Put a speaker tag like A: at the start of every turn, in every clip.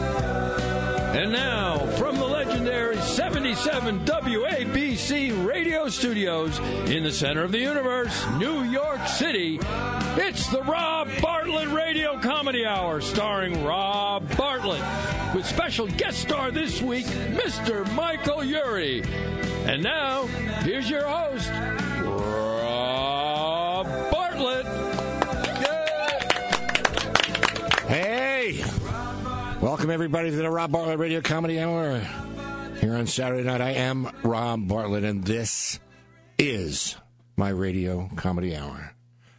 A: And now, from the legendary 77 WABC radio studios in the center of the universe, New York City, it's the Rob Bartlett Radio Comedy Hour, starring Rob Bartlett, with special guest star this week, Mr. Michael Urey. And now, here's your host, Rob Bartlett.
B: Hey! Welcome, everybody, to the Rob Bartlett Radio Comedy Hour. Here on Saturday night, I am Rob Bartlett, and this is my radio comedy hour.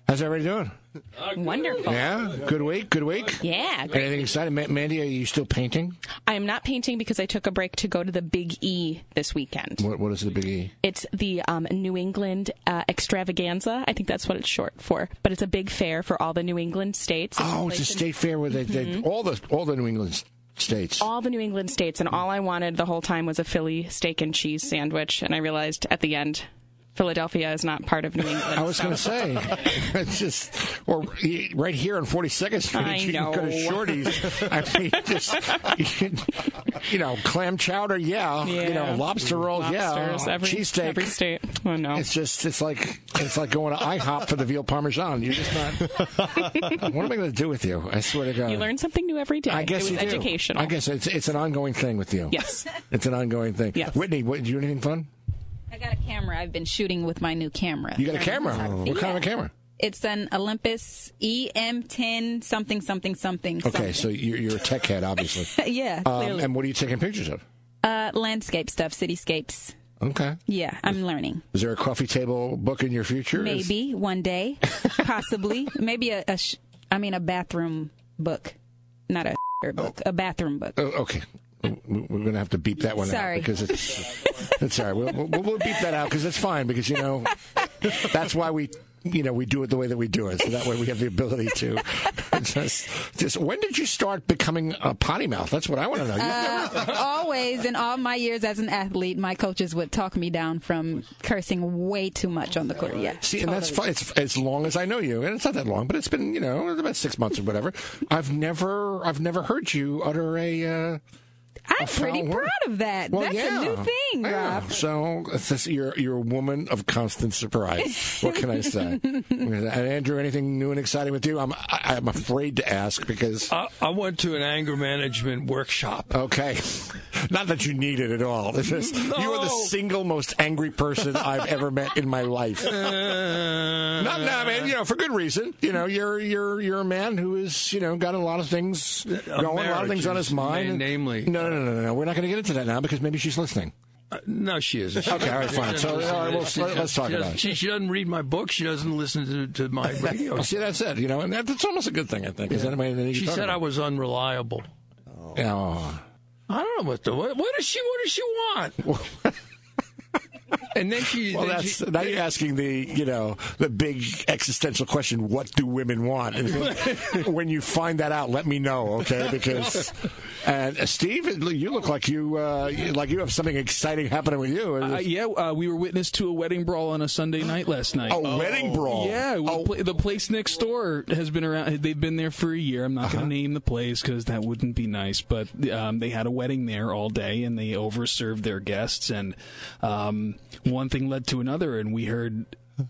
B: How's everybody doing?
C: Wonderful.
B: Yeah? Good week? Good week?
C: Yeah.
B: Anything exciting? Ma- Mandy, are you still painting?
C: I am not painting because I took a break to go to the Big E this weekend.
B: What, what is the biggie?
C: It's the um, New England uh, Extravaganza. I think that's what it's short for. But it's a big fair for all the New England states.
B: Oh, it's a state fair where they, they all the all the New England s- states.
C: all the New England states, and all I wanted the whole time was a Philly steak and cheese sandwich. And I realized at the end, Philadelphia is not part of New England.
B: I was going to say, it's just, or y- right here on 42nd Street,
C: I
B: you can go to
C: know.
B: Shorty's. I mean, just, you, can- you know, clam chowder, yeah. You know, lobster rolls,
C: Lobsters,
B: yeah.
C: every,
B: Cheesesteak.
C: Every state. Oh, no.
B: It's just, it's like, it's like going to IHOP for the veal parmesan. You're just not, what am I going to do with you? I swear to God.
C: you learn something new every day.
B: I guess
C: it was
B: you do.
C: educational.
B: I guess it's, it's an ongoing thing with you.
C: Yes.
B: It's an ongoing thing.
C: Yes.
B: Whitney, what, do you do anything fun?
D: I got a camera. I've been shooting with my new camera.
B: You got
C: Uh,
B: a camera. What kind of a
D: Yeah.
B: camera?
D: It's an Olympus EM10 something something something.
B: Okay, so you're, you're a tech head, obviously.
D: something. yeah,
B: Um,
D: clearly.
B: and what are you taking pictures of?
D: uh, landscape stuff, cityscapes.
B: Okay.
D: Yeah, I'm learning.
B: Is there a coffee table book in your future? Is-
D: Maybe one day, possibly. Maybe a, a sh- I mean a bathroom book, not a book, a bathroom book.
B: Oh, okay. W- We're going to have to beep that one
D: Sorry.
B: out because it's. That's all right. We'll, we'll, we'll beep that out because it's fine because you know that's why we you know we do it the way that we do it so that way we have the ability to just, just when did you start becoming a potty mouth that's what i want to know You've never-
D: Uh, Always, in all my years as an athlete, my coaches would talk me down from cursing way too much on the court. Yeah.
B: See, and that's fun. It's as long as I know you, and it's not that long, but it's been you know about six months or whatever. I've never, I've never heard you utter a. Uh,
D: I'm pretty
B: foul word.
D: proud of that.
B: Well,
D: That's
B: yeah.
D: a new thing,
B: Yeah.
D: Rob.
B: So it's just- you're you're a woman of constant surprise. what can I say? and Andrew, anything new and exciting with you? I'm I, I'm afraid to ask because.
A: I, I went to an anger management workshop.
B: Okay, not that you need it at
D: Oh,
B: all. It's just, You are the
A: No.
B: single most angry person I've ever met in my life.
A: Uh-huh.
B: Not now, man. You know, for good reason. You know, you're you're you're a man who is you know got a lot of things going, a lot of
A: marriage
B: things on
A: is
B: his mind.
A: Uh, na- namely-
B: no, no, no, no, no. We're not going to get into that now because maybe she's listening.
A: No, she isn't. She
B: Okay, all right, fine. So,
A: doesn't
B: all
A: listen to
B: right, well,
A: this. She
B: let- let's
A: doesn't-
B: talk
A: she
B: about
A: doesn't-
B: it.
A: She, she doesn't read my book. She doesn't listen to, to my radio.
B: See, that's it. You know, and that, that's almost a good thing, I think. Is that anybody that you
A: she
B: talk
A: said I
B: about?
A: was unreliable.
B: Oh.
A: I don't know what the what, what does she what does she want? and then she
B: Well,
A: then
B: that's
A: she,
B: now you're asking the you know the big existential question: What do women want? And when you find that out, let me know, okay? Because and uh, Steve, you look like you uh, like you have something exciting happening with you.
E: Uh, yeah, uh, we were witness to a wedding brawl on a Sunday night last night.
B: a wedding brawl.
E: Yeah, we
B: Oh,
E: pla- the place next door has been around. They've been there for a year. I'm not
B: Uh-huh.
E: going to name the place because that wouldn't be nice. But um, they had a wedding there all day, and they overserved their guests. And um, one thing led to another, and we heard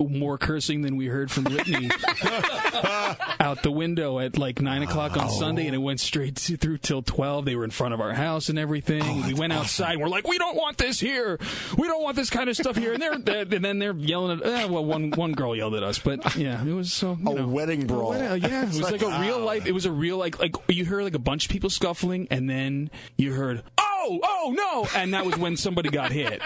E: more cursing than we heard from Whitney out the window at like nine o'clock on Sunday,
B: Oh.
E: and it went straight to, through till twelve. They were in front of our house and everything.
B: Oh,
E: we went outside. and We're like, we don't want this here. We don't want this kind of stuff here. And they're, they're and then they're yelling at. Eh, well, one one girl yelled at us, but yeah, it was so.
B: A wedding brawl.
E: uh, yeah, it was like, a
B: Ah.
E: real life. It was a real like like you heard like a bunch of people scuffling, and then you heard. Oh, oh no! And that was when somebody got hit.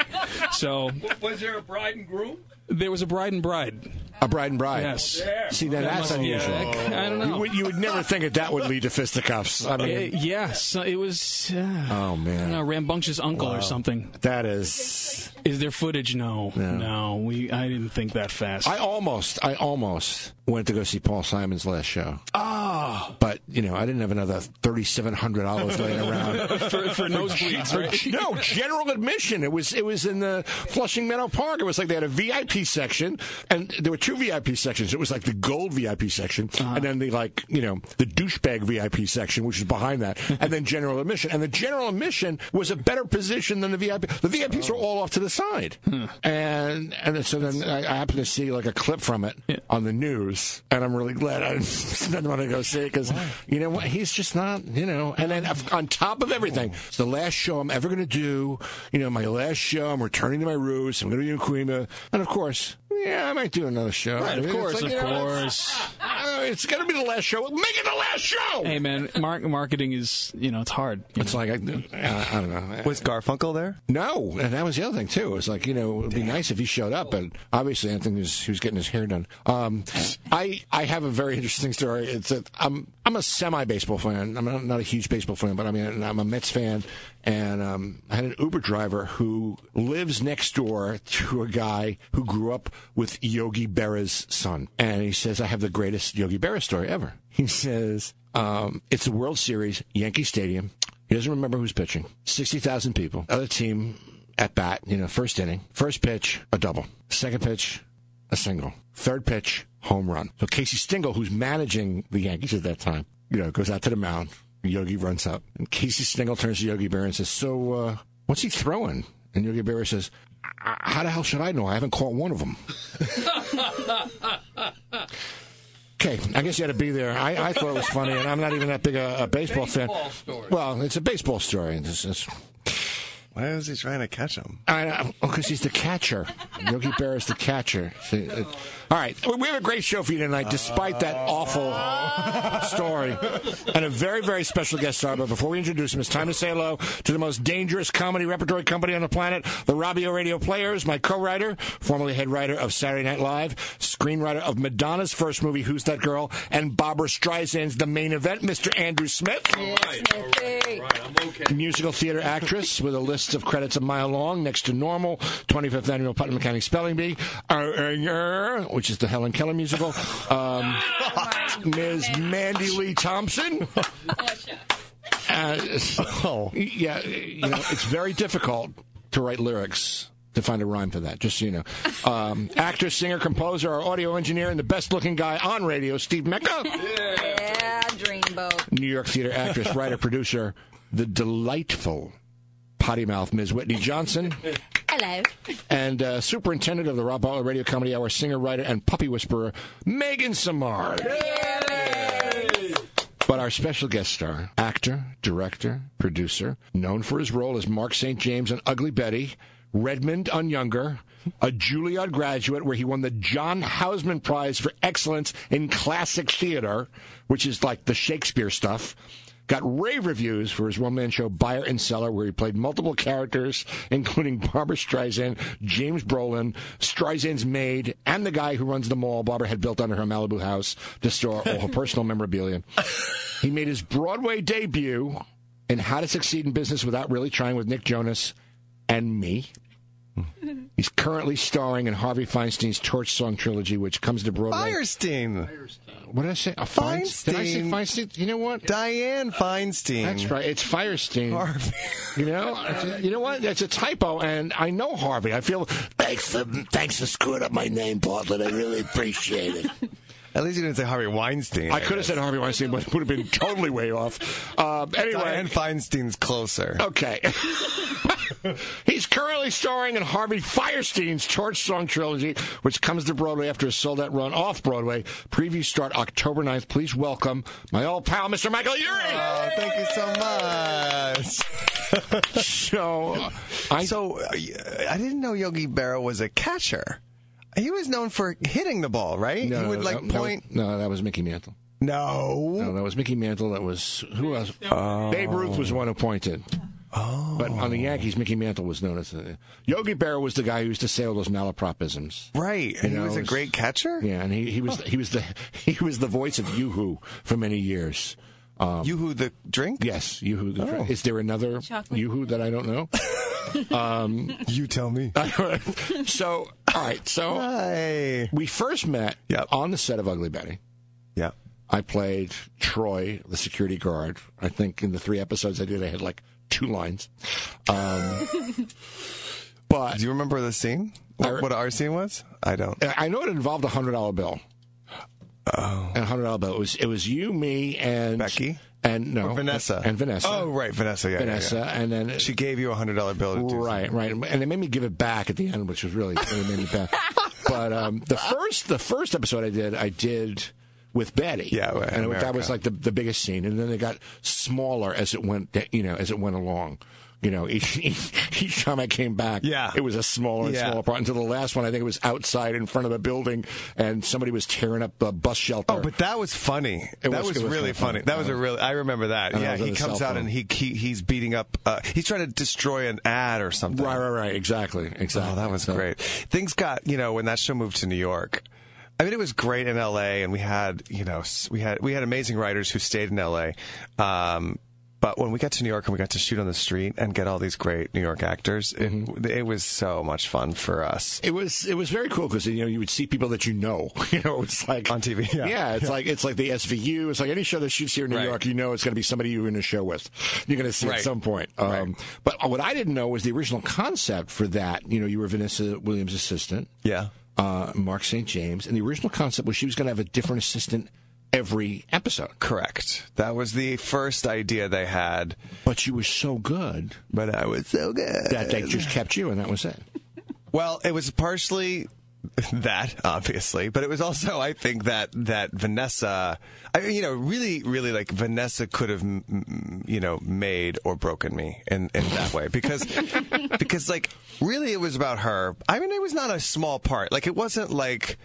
E: So
A: was there a bride and groom?
E: there was a bride and bride.
B: a bride and bride.
E: Yes.
B: See, then that's
E: must be-
B: unusual.
E: I don't know.
B: You would, you would never think that that would lead to fisticuffs. I
E: Uh,
B: mean,
E: yeah, so it was. Uh,
B: oh man,
E: No, rambunctious uncle or something.
B: that is.
E: Is there footage? No, no. We I didn't think that fast.
B: I almost, I almost went to go see Paul Simon's last show.
E: oh,
B: But you know, I didn't have another thirty-seven hundred dollars laying around
E: for, for nosebleeds, right?
B: no, general admission. It was it was in the Flushing Meadow Park. It was like they had a VIP section, and there were two VIP sections. It was like the gold VIP section, and then the like you know the douchebag VIP section, which is behind that, and then general admission. And the general admission was a better position than the VIP. The VIPs were all off to the side, and and then- so then I, I happened to see like a clip from it on the news, and I'm really glad I didn't want to go see it because you know what he's just not you know. And then of- on top of
E: Oh.
B: everything, it's the last show I'm ever going to do. You know, my last show. I'm returning to my roots. I'm going to do Quima, and of course, yeah, I might do another show.
E: Right, of
B: It's
E: course,
B: like,
E: of
B: you know,
E: course.
B: uh, it's going to be the last show. Make it the last show.
E: Hey man, mar- marketing is you know it's hard. you
B: It's like I, I don't know.
F: Was Garfunkel there?
B: No, and that was the other thing too. It was like you know, it would be nice if he showed up, but obviously Anthony was he was getting his hair done. Um, I I have a very interesting story. It's that I'm I'm a semi baseball fan. I'm not, not a huge baseball fan, but I mean I'm a Mets fan, and um, I had an Uber driver who lives next door to a guy who grew up with Yogi Berra's son, and he says I have the greatest Yogi Berra story ever. He says um, it's the World Series, Yankee Stadium. He doesn't remember who's pitching. 60,000 people. Other team at bat, you know, first inning. First pitch, a double. Second pitch, a single. Third pitch, home run. So Casey Stingle, who's managing the Yankees at that time, you know, goes out to the mound. Yogi runs up. And Casey Stingle turns to Yogi Berra and says, So, uh, what's he throwing? And Yogi Berra says, "I- I- How the hell should I know? I haven't caught one of them. Okay, I guess you had to be there. I, I thought it was funny, and I'm not even that big a, a baseball, fan. Well, it's a baseball story. and It's, it's,
F: Why was he trying to catch him?
B: I, oh, because he's the catcher. Yogi Berra is the catcher. See, it- all right, we- we have a great show for you tonight, despite that awful story, and a very, very special guest star. But before we introduce him, it's time to say hello to the most dangerous comedy repertory company on the planet, the Robbio Radio Players. My co-writer, formerly head writer of Saturday Night Live, screenwriter of Madonna's first movie, Who's That Girl, and Barbara Streisand's The Main Event, Mr. Andrew Smith musical theater actress with a list of credits a mile long next to Normal, 25th Annual Putnam County Spelling Bee, Err, which is the Helen Keller musical, um, Ms. Mandy Lee Thompson. Uh, yeah, you know, it's very difficult to write lyrics. To find a rhyme for that, just so you know. Um, actor, singer, composer, our audio engineer, and the best looking guy on radio, Steve Mecca.
D: Yeah, dreamboat.
B: New York theater actress, writer, producer, the delightful potty mouth Ms. Whitney Johnson,
D: Hello.
B: and uh, superintendent of the Rob Butler Radio Comedy Hour, singer, writer, and puppy whisperer, Megan Samard. But our special guest star, actor, director, producer, known for his role as Mark St. James on Ugly Betty, Redmond on Younger, a Juilliard graduate where he won the John Hausman Prize for Excellence in Classic Theater, which is like the Shakespeare stuff. Got rave reviews for his one man show Buyer and Seller, where he played multiple characters, including Barbara Streisand, James Brolin, Streisand's maid, and the guy who runs the mall Barbara had built under her Malibu house to store all her personal memorabilia. He made his Broadway debut in How to Succeed in Business Without Really Trying with Nick Jonas and me. He's currently starring in Harvey Feinstein's Torch Song trilogy, which comes to Broadway.
F: Feinstein.
B: What did I say? A Feinstein. Did I say Feinstein? You know what?
F: Diane Feinstein.
B: That's right. It's Firestein.
F: Harvey.
B: You know, you know what? That's a typo, and I know Harvey. I feel thanks for thanks for screwing up my name, Bartlett. I really appreciate it.
F: At least you didn't say Harvey Weinstein.
B: I could have said Harvey Weinstein, but it would have been totally way off. Uh, anyway,
F: Diane Feinstein's closer.
B: Okay. He's currently starring in Harvey Firestein's Torch Song trilogy, which comes to Broadway after a sold out run off Broadway. Previews start October 9th. Please welcome my old pal, Mr. Michael Urie.
F: Oh, thank you so much.
B: So, I,
F: So uh, I didn't know Yogi Berra was a catcher. He was known for hitting the ball, right? he would like
B: that- that was-
F: point.
B: no, that was Mickey Mantle.
F: No. Oh.
B: No, that was Mickey Mantle. That was who else? Babe Ruth was the one who pointed. Oh. But on the Yankees, Mickey Mantle was known as the, Yogi Berra was the guy who used to say all those malapropisms.
F: Right. he
B: know,
F: was a
B: it's-
F: great catcher.
B: Yeah, and he, he was he was the he was the voice of YooHoo for many years. Um,
F: You who the drink? Oh.
B: Yes, YooHoo. The Is there another
D: Chocolate.
B: YooHoo that I don't know? Um,
F: You tell me.
B: so, all right. So
F: Hi.
B: we first met
F: Yep.
B: on the set of Ugly Betty,
F: Yeah.
B: I played Troy, the security guard. I think in the three episodes I did, I had like two lines. Um, but
F: do you remember the scene? What, what our scene was? I don't.
B: I know it involved a hundred dollar bill. Oh, and a hundred dollar bill. It was it was you, me, and
F: Becky?
B: and no
F: Or Vanessa.
B: and Vanessa.
F: Oh, right, Vanessa. Yeah, yeah,
B: Vanessa,
F: yeah.
B: and then
F: She gave you a hundred dollar bill. To do something.
B: right, right, and they made me give it back at the end, which was really really made me bad. But um, the first the first episode I did, I did with Betty.
F: Yeah, right,
B: and it, that
F: America.
B: was like the the biggest scene, and then they got smaller as it went, you know, as it went along. You know, each, each, each time I came back,
F: Yeah.
B: it was a smaller and
F: Yeah.
B: smaller part. Until the last one, I think it was outside in front of a building, and somebody was tearing up the bus shelter.
F: Oh, but that was funny.
B: It
F: that
B: was-
F: was,
B: it was
F: really
B: kinda funny.
F: funny. That was a really. I remember that.
B: And I
F: Yeah,
B: was on
F: he
B: the
F: comes
B: cell
F: out
B: phone.
F: and he, he he's beating up. Uh, he's trying to destroy an ad or something.
B: right, right, right, exactly, exactly.
F: Oh, that was
B: So-
F: great. Things got you know when that show moved to New York. I mean, it was great in L.A. and we had you know s- we had we had amazing writers who stayed in L.A. Um, but when we got to New York and we got to shoot on the street and get all these great New York actors, it,
B: Mm-hmm.
F: it was so much fun for us.
B: It was it was very cool because you know you would see people that you know. You know, it's like
F: On TV, yeah.
B: it's like it's like the SVU. It's like any show that shoots here in New
F: Right.
B: York, you know, it's going to be somebody you're in a show with. You're going to see at
F: Right.
B: some point. Um, But what I didn't know was the original concept for that. You know, you were Vanessa Williams' assistant,
F: Yeah.
B: uh, Mark St. James, and the original concept was she was going to have a different assistant every episode.
F: Correct. That was the first idea they had,
B: But she was so good
F: but I was so good.
B: that they just kept you, and that was it.
F: Well, it was partially that, obviously, but it was also, I think that that Vanessa, I mean, you know, really, really like Vanessa could have, mm, mm, you know, made or broken me in in that way because because like really it was about her. I mean, it was not a small part. Like it wasn't like.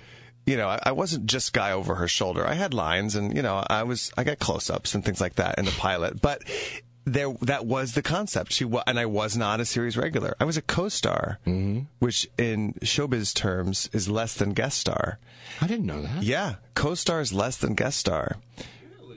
F: You know, I, I wasn't just guy over her shoulder. I had lines, and you know, I was I got close ups and things like that in the pilot. But there that was the concept. She wa- and I was not a series regular. I was a co-star,
B: Mm-hmm.
F: which in showbiz terms is less than guest star.
B: I didn't know that.
F: Yeah, co-star is less than guest star.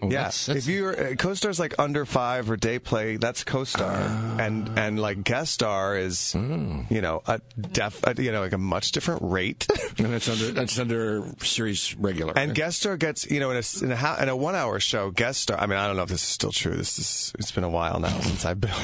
B: Well,
F: yeah,
B: Oh, that's- that's-
F: if you're uh, co-star's like under five or day play, that's co-star,
B: Ah.
F: and and like guest star is
B: Hmm.
F: you know a def a, you know like a much different rate.
B: and that's under that's under series regular.
F: And guest star gets you know in a in a, ho- in a one hour show guest star. I mean I don't know if this is still true. This is it's been a while now since I've been.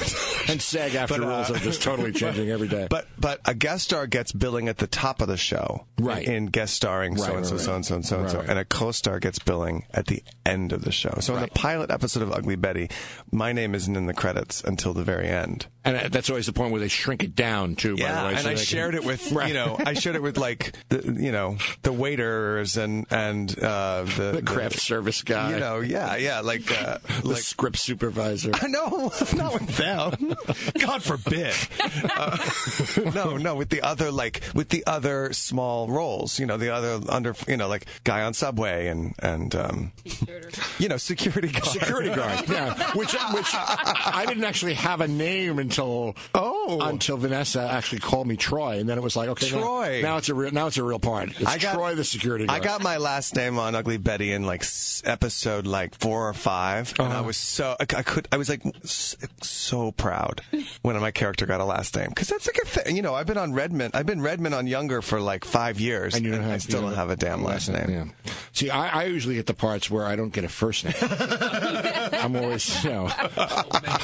B: And SAG after
F: But, uh,
B: rules are just totally changing every day.
F: But but a guest star gets billing at the top of the show,
B: Right.
F: In guest starring
B: Right,
F: so and so,
B: right,
F: so
B: right.
F: and so, and so and so,
B: Right, right.
F: and a co-star gets billing at the end of the show. So in the pilot episode of Ugly Betty, my name isn't in the credits until the very end.
B: and uh, that's always the point where they shrink it down too. by the way,
F: and
B: so
F: I
B: they can-
F: shared it with
B: Right.
F: you know I shared it with like the you know the waiters and and uh, the,
B: the craft service guy,
F: You know, yeah, yeah, like uh,
B: the
F: like
B: script supervisor.
F: no, not with them. God forbid. Uh, no, no, with the other like with the other small roles. You know, the other under you know like guy on subway and and um, you know security guard.
B: Security guard, yeah. Which, which I I didn't actually have a name until
F: Oh.
B: until Vanessa actually called me Troy, and then it was like okay, now-
F: Troy.
B: Now, it's a real now it's a real part. It's Troy the security guard.
F: I got my last name on Ugly Betty in like s- episode like four or 5 and
B: Uh-huh.
F: I was so I, c- I could I was like s- so proud when my character got a last name because that's like a thing. You know, I've been on Redmond. I've been Redmond on Younger for like five years,
B: And you don't have,
F: I still
B: you
F: don't have a damn last name.
B: Yeah. See, I, I usually get the parts where I don't get a first name. I'm always, you know,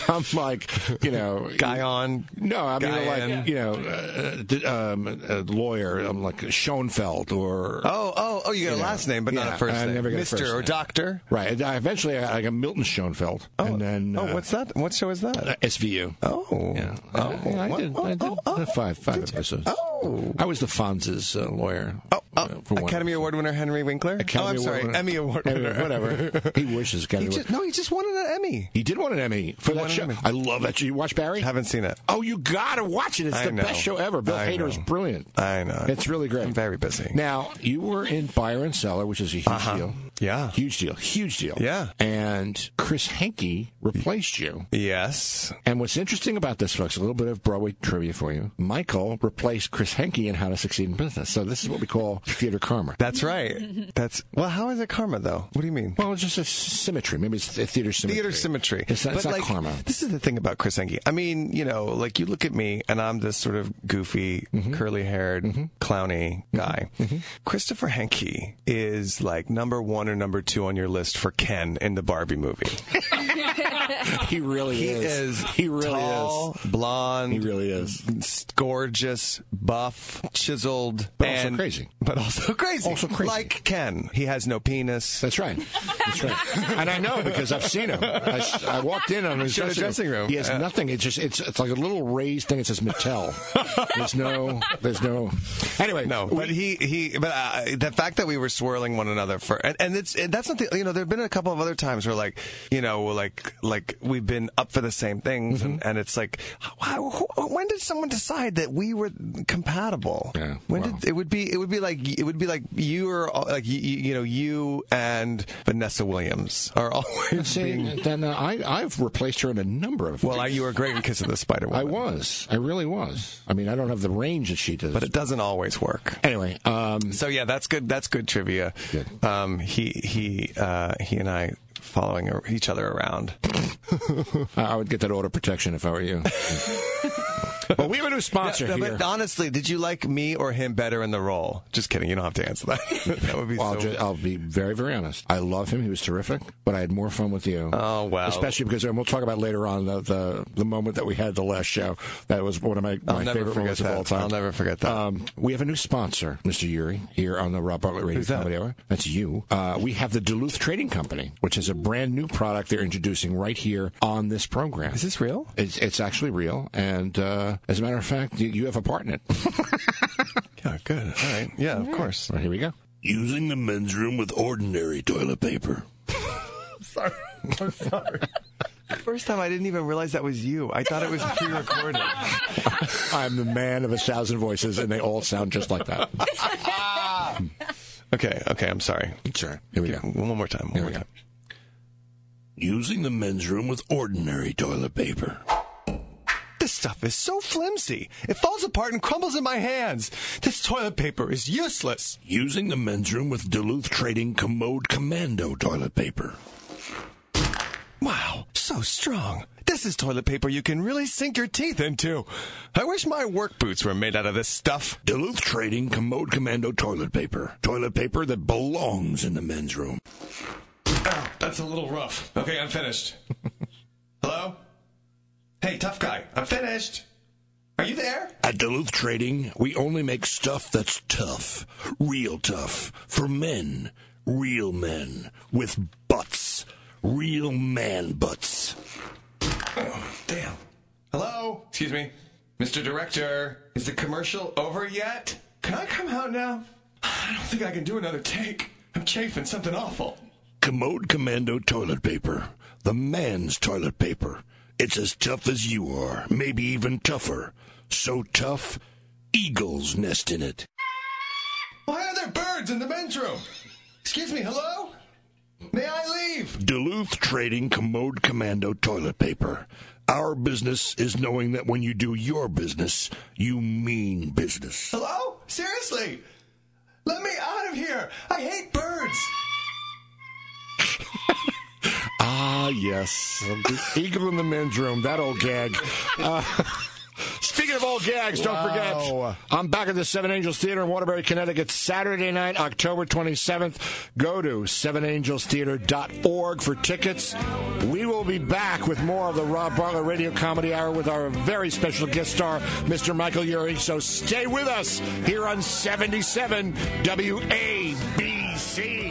B: I'm like, you know,
F: Guy on.
B: No, I mean
F: guy
B: like
F: in-
B: you know, uh, d- um, a lawyer. I'm like Schoenfeld or
F: Oh, oh, oh! You got a last name, but not
B: yeah,
F: a first
B: I
F: name.
B: never got a
F: Mister
B: first
F: or
B: name.
F: Doctor.
B: right. And I, eventually, I, I got Milton Schoenfeld, and then
F: oh,
B: uh,
F: what's that? What show is that?
B: uh, SVU.
F: oh,
B: Yeah.
F: oh,
B: Yeah, I
F: what-
B: did,
F: oh,
B: I did
F: oh, oh,
B: five five episodes.
F: oh.
B: I was the Fonz's uh, lawyer.
F: Oh, oh,
B: uh, for one
F: Academy
B: episode.
F: Award winner Henry Winkler.
B: Academy
F: oh, I'm sorry,
B: winner.
F: Emmy Award
B: Emmy,
F: winner.
B: whatever. he wishes Academy
F: He
B: Award.
F: just, no, he just won an Emmy.
B: He did want an Emmy for that
F: won an
B: show.
F: Emmy.
B: I love that show. You watch Barry?
F: Haven't seen it.
B: Oh, you gotta watch it. It's
F: I
B: the
F: know.
B: best show ever. Bill
F: I
B: Hader
F: know.
B: is brilliant.
F: I know.
B: It's really great.
F: I'm very busy. Uh-huh.
B: Now you were in Buyer and Seller, which is a huge deal.
F: Yeah.
B: huge deal, huge deal.
F: Yeah.
B: and Chris Henke replaced you.
F: Yes.
B: And what's interesting about this, folks, a little bit of Broadway trivia for you. Michael replaced Chris Henke in How to Succeed in Business. So this is what we call theater karma.
F: That's right. That's well. How is it karma though? What do you mean?
B: Well, it's just a s- symmetry. Maybe it's th- theater symmetry.
F: Theater symmetry.
B: It's not, it's
F: But,
B: not
F: like,
B: karma.
F: This is the thing about Chris Enke. I mean, you know, like you look at me and I'm this sort of goofy,
B: Mm-hmm.
F: curly haired, clowny guy. Christopher Henke is like number one or number two on your list for Ken in the Barbie movie.
B: He really
F: He
B: is.
F: is
B: He really
F: tall,
B: is.
F: blonde.
B: He really is.
F: s- gorgeous, buff, chiseled,
B: But also
F: and
B: crazy.
F: but also crazy,
B: Also crazy.
F: like Ken. He has no penis.
B: That's right. That's right. And I know because I've seen him. I, s- I walked in on his
F: Sure, the
B: dressing,
F: dressing room. Uh.
B: He has
F: Yeah.
B: nothing. It's just it's it's like a little raised thing. It says Mattel. There's no. There's no. Anyway,
F: No,
B: we-
F: but he he, but uh, the fact that we were swirling one another for, and, and it's and that's not the you know there have been a couple of other times where like you know we're like like we've been up for the same things
B: Mm-hmm.
F: and, and it's like how, who, when did someone decide that we were compatible?
B: Yeah,
F: when
B: wow.
F: did it would be it would be like it would be like you are all- like you, you you know you and Vanessa Williams are always being
B: See, then uh, I I've replaced her in a number of.
F: Well, I, you were great in Kiss of the Spider Woman.
B: I was. I really was. I mean, I don't have the range that she does.
F: But it doesn't always work.
B: anyway, um,
F: So yeah, that's good. That's good trivia.
B: Good.
F: Um, he he uh, he and I following ar- each other around.
B: I I would get that order protection if I were you. but we have a new sponsor
F: No,
B: here.
F: but honestly, did you like me or him better in the role? Just kidding. You don't have to answer that. that would be
B: I'll,
F: so.
B: ju- I'll be very, very honest. I love him. He was terrific, but I had more fun with you.
F: Oh, wow.
B: Especially because, and we'll talk about later on the, the the moment that we had the last show. That was one of my,
F: I'll
B: my
F: never
B: favorite
F: forget
B: moments of all
F: that.
B: time.
F: I'll never forget that.
B: Um, we have a new sponsor, Mr. Yuri, here on the Rob Bartlett Radio
F: Who's that?
B: Comedy Hour. That's you. Uh, we have the Duluth Trading Company, which is a brand new product they're introducing right here on this program.
F: Is this real?
B: It's, it's actually real, and uh, as a matter of fact, you, you have a part in it.
F: Yeah, good. All right. Yeah, of course.
B: All right, here we go.
G: Using the men's room with ordinary toilet paper.
F: Sorry. I'm sorry. First time I didn't even realize that was you. I thought it was pre-recorded.
B: I'm the man of a thousand voices, and they all sound just like that.
F: okay. Okay. I'm sorry.
B: Sure. Here we go.
F: One more time. One
B: Here
F: more
B: we go.
F: time.
G: Using the men's room with ordinary toilet paper.
F: This stuff is so flimsy. It falls apart and crumbles in my hands. This toilet paper is useless.
G: Using the men's room with Duluth Trading Commode Commando toilet paper.
F: Wow, so strong. This is toilet paper you can really sink your teeth into. I wish my work boots were made out of this stuff.
G: Duluth Trading Commode Commando toilet paper. Toilet paper that belongs in the men's room.
F: That's a little rough. Okay, I'm finished. Hello? Hey, tough guy, I'm finished. Are you there?
G: At Duluth Trading, we only make stuff that's tough. Real tough. For men. Real men. With butts. Real man butts.
F: Damn. Hello? Excuse me. Mr. Director, is the commercial over yet? Can I come out now? I don't think I can do another take. I'm chafing something awful.
G: Commode Commando toilet paper. The man's toilet paper. It's as tough as you are, maybe even tougher. So tough, eagles nest in it.
F: Why are there birds in the men's room? Excuse me, hello? May I leave?
G: Duluth Trading Commode Commando toilet paper. Our business is knowing that when you do your business, you mean business.
F: Hello? Seriously? Let me out of here! I hate birds!
B: Ah, yes. The Eagle in the men's room, that old gag. Uh, speaking of old gags, don't
F: Wow.
B: forget, I'm back at the Seven Angels Theater in Waterbury, Connecticut, Saturday night, October 27th. Go to sevenangelstheater.org for tickets. We will be back with more of the Rob Bartlett Radio Comedy Hour with our very special guest star, Mr. Michael Urey. So stay with us here on 77 WABC.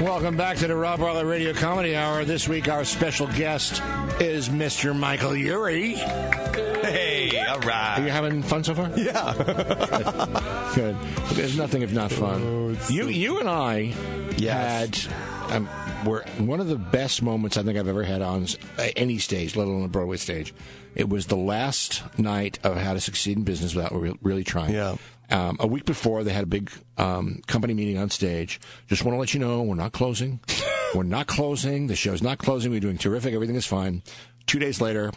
B: Welcome back to the Rob Bartlett Radio Comedy Hour. This week, our special guest is Mr. Michael Urey. Are
F: Hey, alright.
B: you having fun so far? Yeah. Good. There's nothing if not fun. you, you and I
F: Oh, Yes.
B: had um, were one of the best moments I think I've ever had on s- uh, any stage, let alone a Broadway stage. It was the last night of How to Succeed in Business Without re- Really Trying.
F: Yeah.
B: Um, a week before, they had a big um, company meeting on stage. Just want to let you know, we're not closing. we're not closing. The show's not closing. We're doing terrific. Everything is fine. two days later.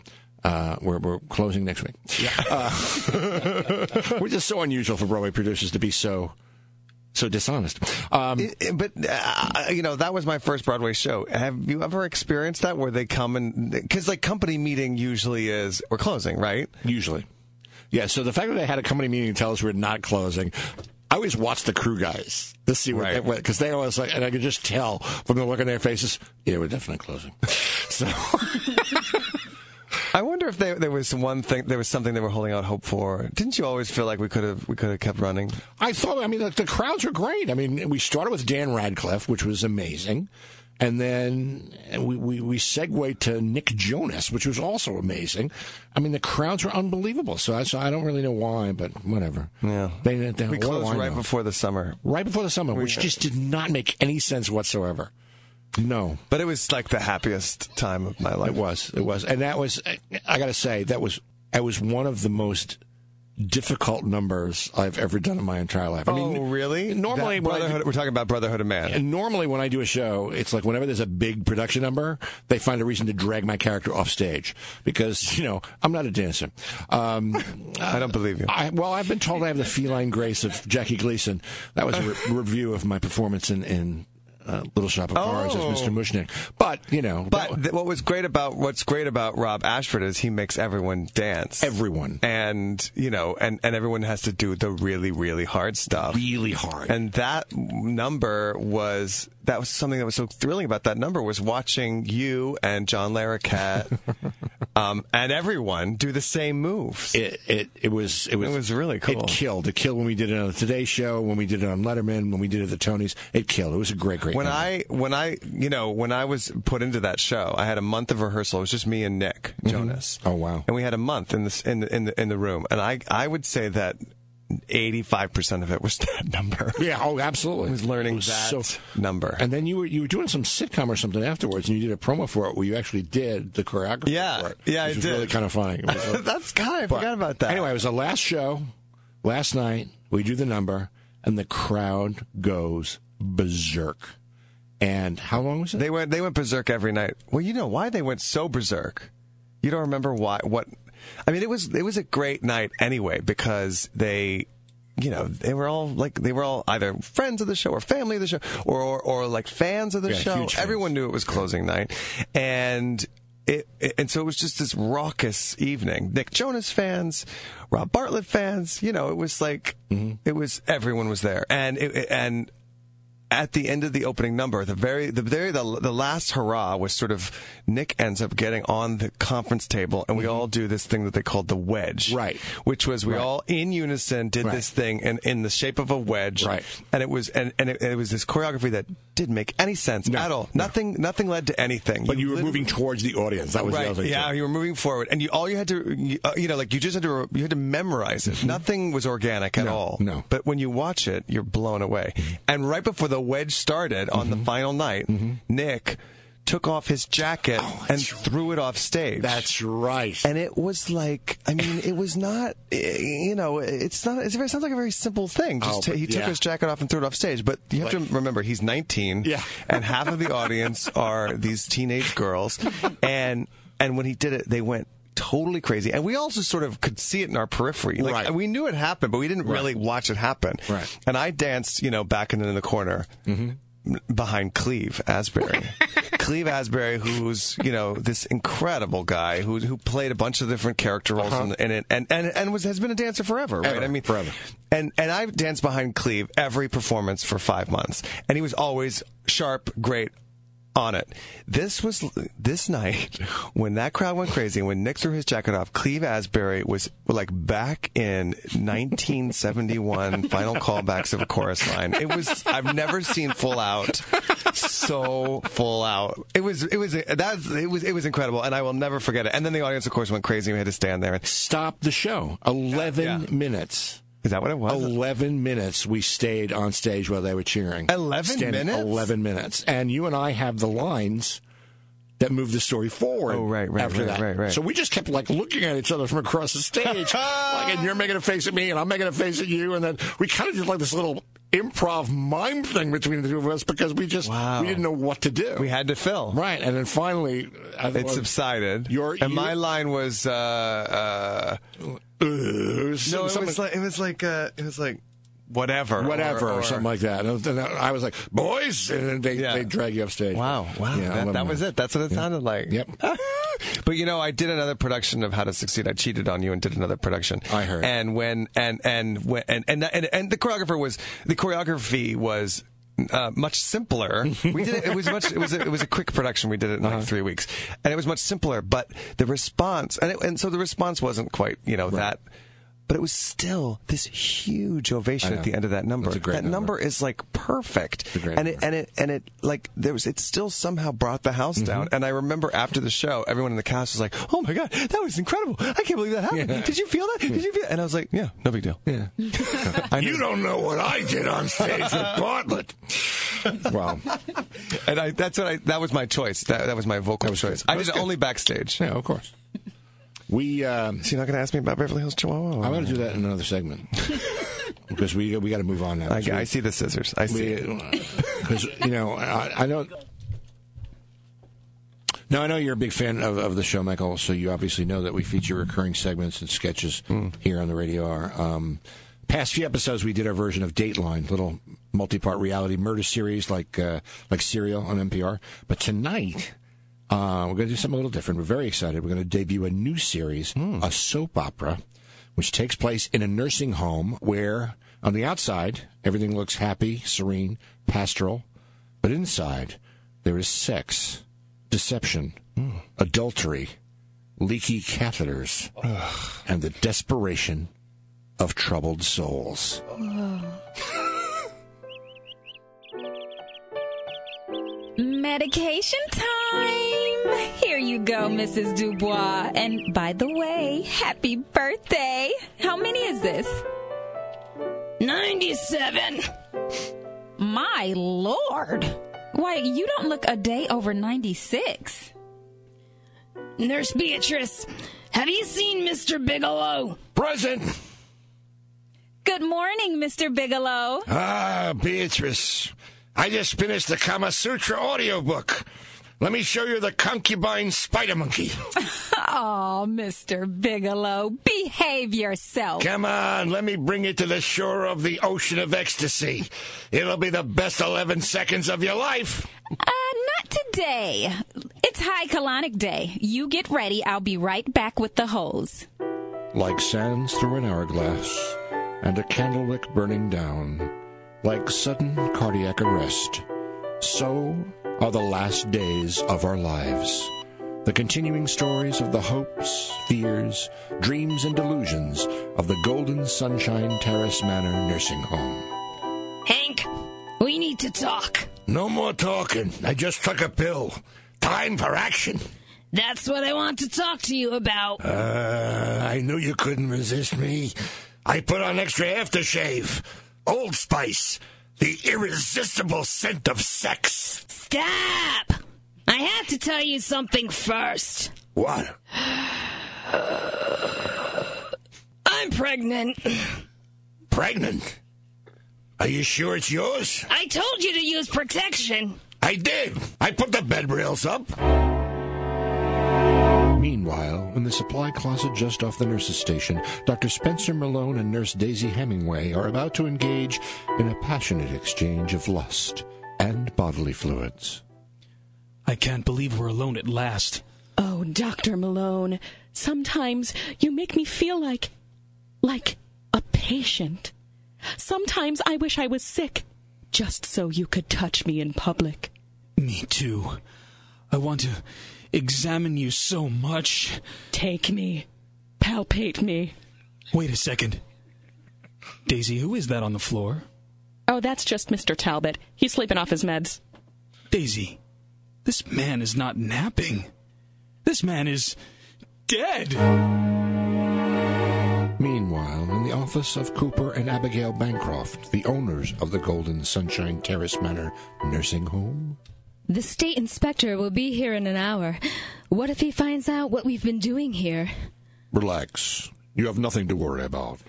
B: Uh, we're, we're closing next week. Uh, we're just so unusual for Broadway producers to be so so dishonest. Um,
F: It- it- but uh, you know that was my first Broadway show. Have you ever experienced that where they come and because like company meeting usually is we're closing, right?
B: Usually. Yeah, so the fact that they had a company meeting to tell us we're not closing, I always watch the crew guys to see what
F: Right.
B: they because they always like, and I could just tell from the look on their faces, yeah, we're definitely closing. so
F: I wonder if they, there was one thing, there was something they were holding out hope for. Didn't you always feel like we could have we could have kept running?
B: I thought, I mean, the, the crowds were great. I mean, we started with Dan Radcliffe, which was amazing. And then we, we, we segued to Nick Jonas, which was also amazing. I mean, the crowds were unbelievable. So I, so I don't really know why, but whatever.
F: Yeah.
B: They, they, they,
F: We
B: what do
F: closed
B: I
F: right
B: know?
F: before the summer,
B: right before the summer, which just did not make any sense whatsoever. No,
F: but it was like the happiest time of my
B: it
F: life.
B: was, it was, and that was. I- I got to say, that was, that was one of the most difficult numbers I've ever done in my entire life. I mean,
F: oh, really?
B: Normally,
F: That
B: when I do-
F: brotherhood, we're talking about Brotherhood of Oh, Man.
B: and normally when I do a show, it's like whenever there's a big production number, they find a reason to drag my character off stage because you know I'm not a dancer. Um,
F: I don't believe you.
B: I, well, I've been told I have the feline grace of Jackie Gleason. That was a re- review of my performance in. in uh, Little Shop of Horrors
F: Oh.
B: as Mr. Mushnick, but you know, that-
F: But th- what was great about what's great about Rob Ashford is he makes everyone dance.
B: Everyone.
F: and you know, and and everyone has to do the really really hard stuff.
B: really hard.
F: And that number was that was something that was so thrilling about that number was watching you and John Larroquette um, and everyone do the same moves.
B: it, it it was it was
F: It was really cool.
B: It killed. It killed when we did it on the Today Show, when we did it on Letterman, when we did it at the Tonys. It killed. It was a great, great.
F: when
B: number.
F: I when I you know when I was put into that show, I had a month of rehearsal. It was just me and Nick Jonas.
B: Oh, wow.
F: And we had a month in this in the in the in the room, and I I would say that eighty five percent of it was that number.
B: yeah, oh, absolutely,
F: was learning
B: It was
F: that
B: so-
F: number.
B: And then you were you were doing some sitcom or something afterwards, and you did a promo for it where you actually did the choreography.
F: Yeah.
B: for it,
F: Yeah,
B: which
F: I
B: was
F: did.
B: Really kind of funny. It was a-
F: That's God. I
B: but-
F: forgot about that.
B: Anyway, it was the last show last night. We do the number, and the crowd goes berserk. And how long was it?
F: They went they went berserk every night. Well, you know why they went so berserk. You don't remember why what I mean it was it was a great night anyway because they you know they were all like they were all either friends of the show or family of the show or or, or like fans of the
B: Yeah,
F: show.
B: huge fans.
F: Everyone knew it was closing night and it, it- and so it was just this raucous evening. Nick Jonas fans, Rob Bartlett fans, you know, it was like
B: Mm-hmm.
F: it was everyone was there, and it, and at the end of the opening number, the very the very the, the last hurrah was sort of Nick ends up getting on the conference table, and we all do this thing that they called the wedge,
B: Mm-hmm. Right.
F: Which was we all in unison did
B: Right.
F: this thing in in the shape of a wedge,
B: Right.
F: And it was and and it, it was this choreography that didn't make any sense
B: No,
F: at all.
B: no.
F: Nothing nothing led to anything.
B: but you were
F: literally-
B: moving towards the audience. That was the
F: Right.
B: other thing.
F: Yeah,
B: too.
F: you were moving forward, and you all you had to, you, uh, you know, like you just had to, you had to memorize it. Nothing was organic at
B: Mm-hmm. No,
F: all.
B: no. Mm-hmm.
F: But when you watch it, you're blown away. And right before the wedge started on the final night, Nick took off his jacket and threw it off stage.
B: Oh, That's right.
F: and it was like, I mean, it was not, eh, you know, it's not. It's, it sounds like a very simple thing. Just
B: Oh,
F: ta- he took
B: yeah.
F: his jacket off and threw it off stage. But you have to remember, he's 19,
B: Yeah.
F: and half of the audience are these teenage girls, and and when he did it, they went totally crazy, and we also sort of could see it in our periphery. Like,
B: Right.
F: We knew it happened, but we didn't really watch it happen.
B: Right.
F: And I danced, you know, back and in the corner
B: Mm-hmm.
F: behind Cleve Asbury. Cleve Asbury, who's you know this incredible guy who who played a bunch of different character roles in, in it, and and and was has been a dancer forever, right?
B: Uh-huh. Ever,
F: I mean,
B: forever.
F: And and I've danced behind Cleve every performance for five months, and he was always sharp, great. On it. This was this night when that crowd went crazy. When Nick threw his jacket off, Cleve Asbury was like back in 1971 final callbacks of a chorus line. It was I've never seen full out so full out. It was it was that's it was it was incredible, and I will never forget it. And then the audience, of course, went crazy. We had to stand there.
B: Stop the show. Eleven
F: Yeah.
B: minutes.
F: Is that what it was?
B: 11 minutes we stayed on stage while they were cheering.
F: 11
B: Standing
F: minutes?
B: 11 minutes. And you and I have the lines that move the story forward.
F: Oh, right, right,
B: after
F: right,
B: that.
F: right, right.
B: So we just kept like looking at each other from across the stage. like, and you're making a face at me, and I'm making a face at you. And then we kind of did like this little improv mime thing between the two of us because we just
F: Wow.
B: we didn't know what to do.
F: We had to fill.
B: right, and then finally, I
F: It
B: thought,
F: subsided.
B: Your
F: and my
B: ear-
F: line was uh, uh,
B: "Ugh,"
F: no,
B: or
F: it
B: something-
F: was like it was like uh, it was like whatever,
B: whatever, or, something like that. And then I was like, boys, and then they
F: Yeah.
B: they drag you upstage.
F: Wow, wow,
B: Yeah, I
F: that,
B: love
F: that was it. That's what it sounded like.
B: Yep.
F: but you know, I did another production of How to Succeed. I cheated on you and did another production.
B: I heard.
F: And when and and when and and and, and the choreographer was the choreography was. Uh, much simpler. We did it. It was much. It was. A, it was a quick production. We did it in
B: Uh-huh.
F: like three weeks, and it was much simpler. But the response, and it, and so the response wasn't quite, you know, that. But it was still this huge ovation at the end of that number.
B: That's a great
F: that
B: number.
F: number is like perfect,
B: a great
F: and it, and it and it like there was it still somehow brought the
B: Mm-hmm.
F: house down. And I remember after the show, everyone in the cast was like, "Oh my god, that was incredible! I can't believe that happened.
B: Yeah.
F: Did you feel that? Did you feel?" And I was like, "Yeah, no big deal."
B: Yeah. you don't know what I did on stage with Bartlett. Well,
F: And I that's what I that was my choice. That, that was my vocal
B: was
F: choice.
B: good.
F: I
B: That
F: did
B: was
F: it
B: good.
F: only backstage.
B: yeah, of course. We, um,
F: So you're not going to ask me about Beverly Hills Chihuahua?
B: I'm going to do that in another segment because we we got to move on now.
F: I, I see the scissors. I see. it.
B: because you know I, I don't. Now I know you're a big fan of, of the show, Michael. So you obviously know that we feature recurring segments and sketches here on the radio. Hour. Um, past few episodes, we did our version of Dateline, little multi-part reality murder series like uh, like Serial on NPR. But tonight. Uh, we're going to do something a little different. We're very excited. We're going to debut a new series, a soap opera, which takes place in a nursing home where, on the outside, everything looks happy, serene, pastoral, but inside, there is sex, deception, adultery, leaky catheters, and the desperation of troubled souls.
D: Medication time! Here you go, Mrs. Dubois. And by the way, happy birthday! How many is this?
H: 97.
D: My lord! Why, you don't look a day over 96.
H: Nurse Beatrice, have you seen Mr. Bigelow?
B: Present!
D: Good morning, Mr. Bigelow.
B: Ah, Beatrice, I just finished the Kama Sutra audiobook. Let me show you the concubine spider monkey.
D: Oh, Mr. Bigelow, behave yourself.
B: Come on, let me bring you to the shore of the ocean of ecstasy. It'll be the best 11 seconds of your life.
D: Uh, not today. It's High Colonic Day. You get ready. I'll be right back with the hose.
B: Like sands through an hourglass, and a candlewick burning down, like sudden cardiac arrest, so are the last days of our lives. The continuing stories of the hopes, fears, dreams, and delusions of the Golden Sunshine Terrace Manor Nursing Home.
H: Hank, we need to talk.
B: No more talking. I just took a pill. Time for action.
H: That's what I want to talk to you about.
B: Uh, I knew you couldn't resist me. I put on extra aftershave. Old Spice. The irresistible scent of sex.
H: Stop! I have to tell you something first.
B: What?
H: I'm pregnant.
B: Pregnant? Are you sure it's yours?
H: I told you to use protection.
B: I did. I put the bed rails up. Meanwhile, in the supply closet just off the nurse's station, Dr. Spencer Malone and nurse Daisy Hemingway are about to engage in a passionate exchange of lust and bodily fluids.
E: I can't believe we're alone at last.
I: Oh, Dr. Malone, sometimes you make me feel like. like a patient. Sometimes I wish I was sick, just so you could touch me in public.
E: Me too. I want to examine you so much.
I: Take me. Palpate me.
E: Wait a second. Daisy, who is that on the floor?
C: Oh, that's just Mr. Talbot. He's sleeping off his meds.
E: Daisy, this man is not napping. This man is dead.
B: Meanwhile, in the office of Cooper and Abigail Bancroft, the owners of the Golden Sunshine Terrace Manor nursing home,
J: The state inspector will be here in an hour. What if he finds out what we've been doing here?
B: relax. You have nothing to worry about.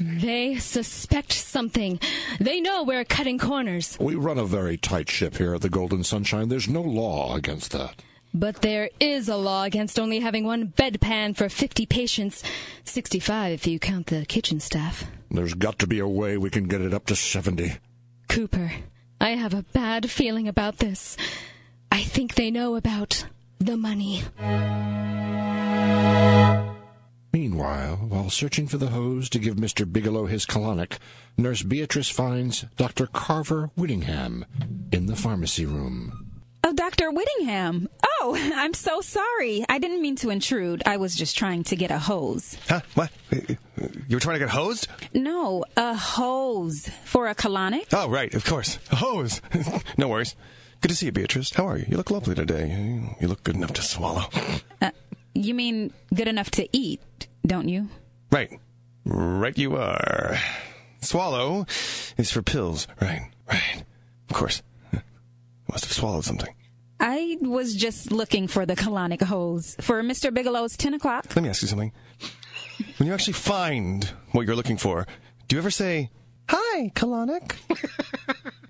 J: They suspect something. They know we're cutting corners.
B: We run a very tight ship here at the Golden Sunshine. There's no law against that.
J: But there is a law against only having one bedpan for 50 patients, 65 if you count the kitchen staff.
B: There's got to be a way we can get it up to 70.
J: Cooper, I have a bad feeling about this. I think they know about the money.
B: Meanwhile, while searching for the hose to give Mr. Bigelow his colonic, Nurse Beatrice finds Dr. Carver Whittingham in the pharmacy room.
D: Oh, Dr. Whittingham. Oh, I'm so sorry. I didn't mean to intrude. I was just trying to get a hose.
F: Huh? What? You were trying to get hosed?
D: No, a hose for a colonic.
F: Oh, right, of course. A hose. no worries. Good to see you, Beatrice. How are you? You look lovely today. You look good enough to swallow.
D: Uh, you mean good enough to eat, don't you?
F: Right. Right you are. Swallow is for pills. Right, right. Of course. Must have swallowed something.
D: I was just looking for the colonic hose for Mr. Bigelow's 10 o'clock.
F: Let me ask you something. When you actually find what you're looking for, do you ever say, Hi, colonic?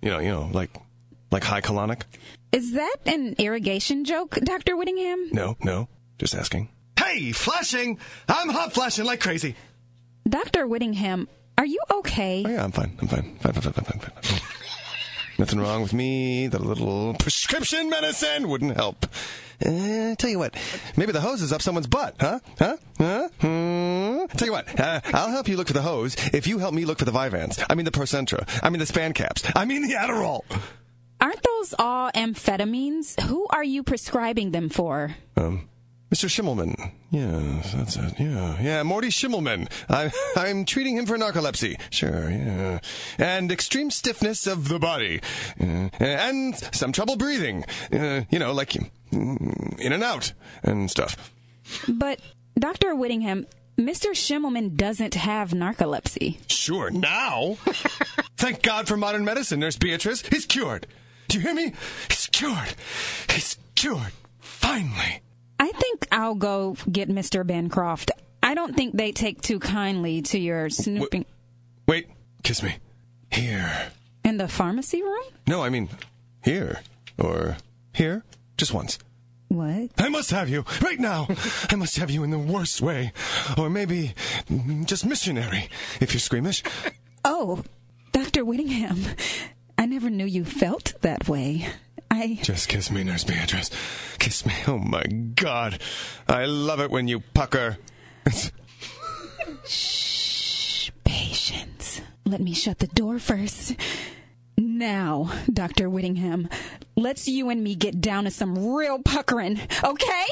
F: you know, you know, like, like, hi, colonic?
D: Is that an irrigation joke, Dr. Whittingham?
F: No, no. Just asking. Hey, flashing! I'm hot flashing like crazy.
D: Dr. Whittingham, are you okay?
F: Oh, yeah, I'm fine. I'm fine. Fine, fine, fine, fine, fine. fine. fine. Nothing wrong with me. The little prescription medicine wouldn't help. Uh, tell you what, maybe the hose is up someone's butt, huh? Huh? Huh? Hmm? Tell you what, uh, I'll help you look for the hose if you help me look for the Vyvanse. I mean the Procentra. I mean the Span Caps. I mean the Adderall.
D: Aren't those all amphetamines? Who are you prescribing them for?
F: Um, Mr. Schimmelman. Yeah, that's it. Yeah, yeah, Morty Schimmelman. I, I'm treating him for narcolepsy. Sure, yeah. And extreme stiffness of the body. Uh, and some trouble breathing. Uh, you know, like mm, in and out and stuff.
D: But, Dr. Whittingham, Mr. Schimmelman doesn't have narcolepsy.
F: Sure, now. Thank God for modern medicine, Nurse Beatrice. He's cured. Do you hear me? He's cured. He's cured. Finally.
D: I think I'll go get Mr. Bancroft. I don't think they take too kindly to your snooping.
F: Wait, kiss me. Here.
D: In the pharmacy room?
F: No, I mean, here. Or here. Just once.
D: What?
F: I must have you right now. I must have you in the worst way.
B: Oh,
F: Or maybe just missionary, if you're squeamish.
D: Oh, Dr. Whittingham. I never knew you felt that way. I...
F: Just kiss me, Nurse Beatrice. Kiss me. Oh my God. I love it when you pucker.
D: Shh. Patience. Let me shut the door first. Now, Dr. Whittingham, let's you and me get down to some real puckering, okay?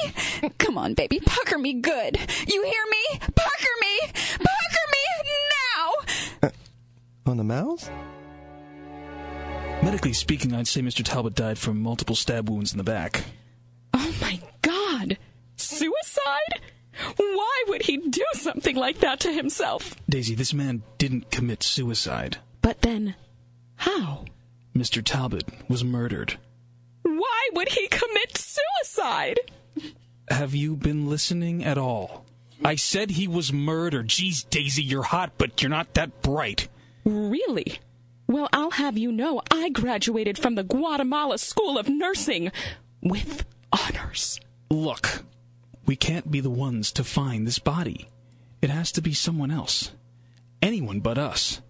D: Come on, baby. Pucker me good. You hear me? Pucker me! Pucker me now!
F: Uh, on the mouth?
E: Medically speaking, I'd say Mr. Talbot died from multiple stab wounds in the back.
I: Oh my god! Suicide? Why would he do something like that to himself?
E: Daisy, this man didn't commit suicide.
I: But then, how?
E: Mr. Talbot was murdered.
I: Why would he commit suicide?
E: Have you been listening at all? I said he was murdered. Geez, Daisy, you're hot, but you're not that bright.
I: Really? Well, I'll have you know I graduated from the Guatemala School of Nursing with honors.
E: Look, we can't be the ones to find this body. It has to be someone else. Anyone but us.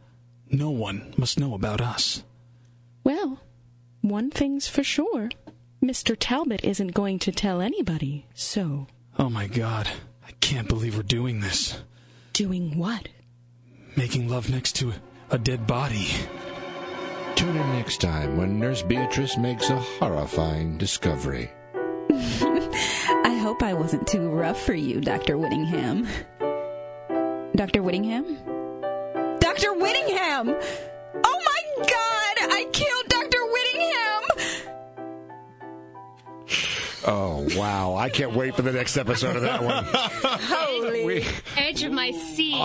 E: No one must know about us.
I: Well, one thing's for sure Mr. Talbot isn't going to tell anybody, so.
E: Oh my god, I can't believe we're doing this.
I: Doing what?
E: Making love next to a dead body.
B: Tune in next time when Nurse Beatrice makes a horrifying discovery.
D: I hope I wasn't too rough for you, Dr. Whittingham. Dr. Whittingham? Dr. Whittingham! Oh my god! I killed Dr. Whittingham!
B: Oh, Oh, wow. I can't wait for the next episode of that one.
K: Holy.
B: We-
K: Edge of my seat.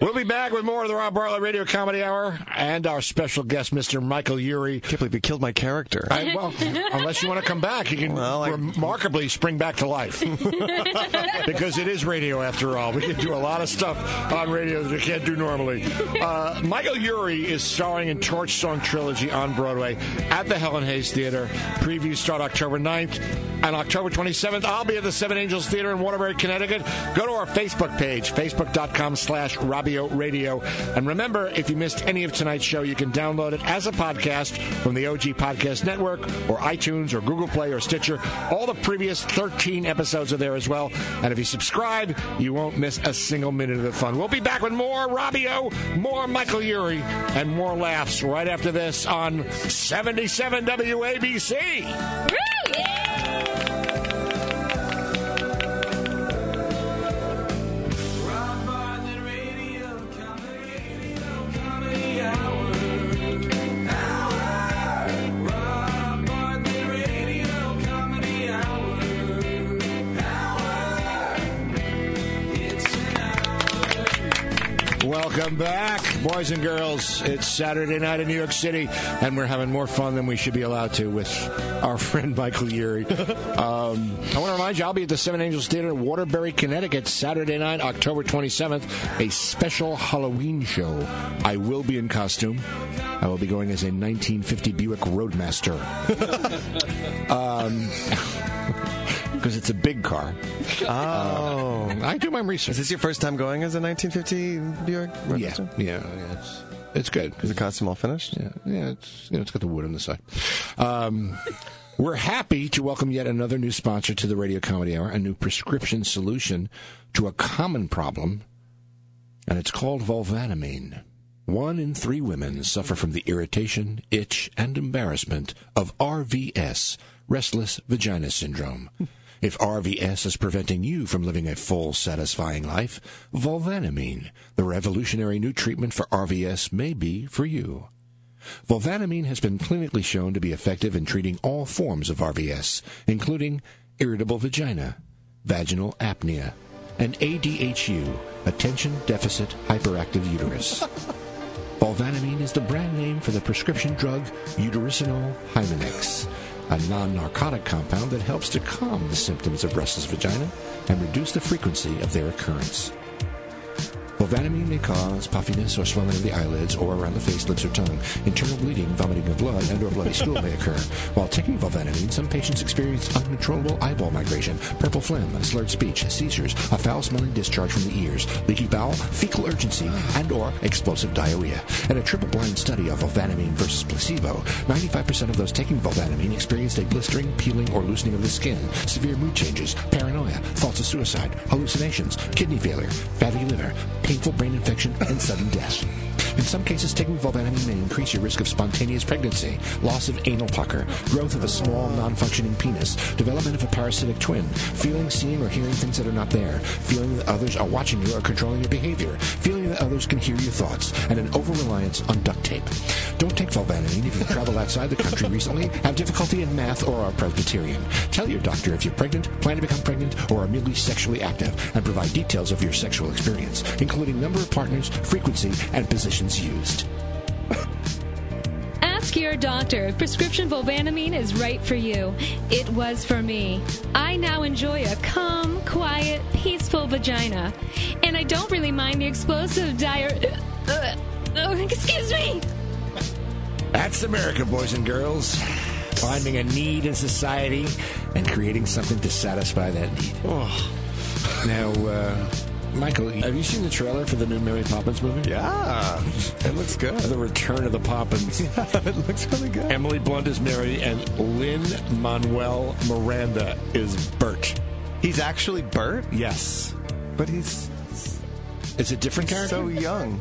B: We'll be back with more of the Rob Bartlett Radio Comedy Hour and our special guest, Mr. Michael Urey.
F: can't believe you killed my character.
B: I, well, unless you want to come back, you can remarkably spring back to life. because it is radio, after all. We can do a lot of stuff on radio that we can't do normally. Uh, Michael Urey is starring in Torch Song Trilogy on Broadway at the Helen Hayes Theater. Previews start October 9th. And October 27th, I'll be at the Seven Angels Theater in Waterbury, Connecticut. Go to our Facebook page, facebook.com slash Robbio Radio. And remember, if you missed any of tonight's show, you can download it as a podcast from the OG Podcast Network or iTunes or Google Play or Stitcher. All the previous 13 episodes are there as well. And if you subscribe, you won't miss a single minute of the fun. We'll be back with more Robbio, more Michael Urey, and more laughs right after this on 77 WABC. Welcome back, boys and girls. It's Saturday night in New York City, and we're having more fun than we should be allowed to with our friend Michael Urey. Um, I want to remind you, I'll be at the Seven Angels Theater in Waterbury, Connecticut, Saturday night, October 27th, a special Halloween show. I will be in costume. I will be going as a 1950 Buick Roadmaster. Um, Because it's a big car.
F: Oh.
B: I do my research.
F: Is this your first time going as a 1950 Bjork?
B: Yeah, yeah, yeah, it's, it's good.
F: Is the costume all finished?
B: Yeah, yeah, it's you know, it's got the wood on the side. Um, we're happy to welcome yet another new sponsor to the Radio Comedy Hour, a new prescription solution to a common problem, and it's called vulvanamine. One in three women suffer from the irritation, itch, and embarrassment of RVS, restless vagina syndrome. If RVS is preventing you from living a full, satisfying life, vulvanamine, the revolutionary new treatment for RVS, may be for you. Vulvanamine has been clinically shown to be effective in treating all forms of RVS, including irritable vagina, vaginal apnea, and ADHU, attention deficit hyperactive uterus. Vulvanamine is the brand name for the prescription drug Uterinol Hymenex, a non-narcotic compound that helps to calm the symptoms of restless vagina and reduce the frequency of their occurrence. Vulvanamine may cause puffiness or swelling of the eyelids or around the face, lips, or tongue. Internal bleeding, vomiting of blood, and or bloody stool may occur. While taking vulvanamine, some patients experience uncontrollable eyeball migration, purple phlegm, slurred speech, seizures, a foul-smelling discharge from the ears, leaky bowel, fecal urgency, and or explosive diarrhea. In a triple-blind study of vulvanamine versus placebo, 95% of those taking vulvanamine experienced a blistering, peeling, or loosening of the skin, severe mood changes, paranoia, thoughts of suicide, hallucinations, kidney failure, fatty liver, painful brain infection, and sudden death. In some cases, taking vulvanamine may increase your risk of spontaneous pregnancy, loss of anal pucker, growth of a small, non-functioning penis, development of a parasitic twin, feeling, seeing, or hearing things that are not there, feeling that others are watching you or controlling your behavior, feeling that others can hear your thoughts, and an over-reliance on duct tape. Don't take vulvanamine if you've traveled outside the country recently, have difficulty in math, or are Presbyterian. Tell your doctor if you're pregnant, plan to become pregnant, or are merely sexually active, and provide details of your sexual experience, including number of partners, frequency, and positions used.
J: Ask your doctor if prescription vulvanamine is right for you. It was for me. I now enjoy a calm, quiet, peaceful vagina. And I don't really mind the explosive dire. Uh, oh, excuse me!
B: That's America, boys and girls. Finding a need in society and creating something to satisfy that need.
F: Oh.
B: Now, uh, Michael, have you seen the trailer for the new Mary Poppins movie?
F: Yeah, it looks good.
B: The Return of the Poppins.
F: it looks really good.
B: Emily Blunt is Mary, and Lynn Manuel Miranda is Bert.
F: He's actually Bert,
B: Yes.
F: but he's
B: It's a different character.
F: so young.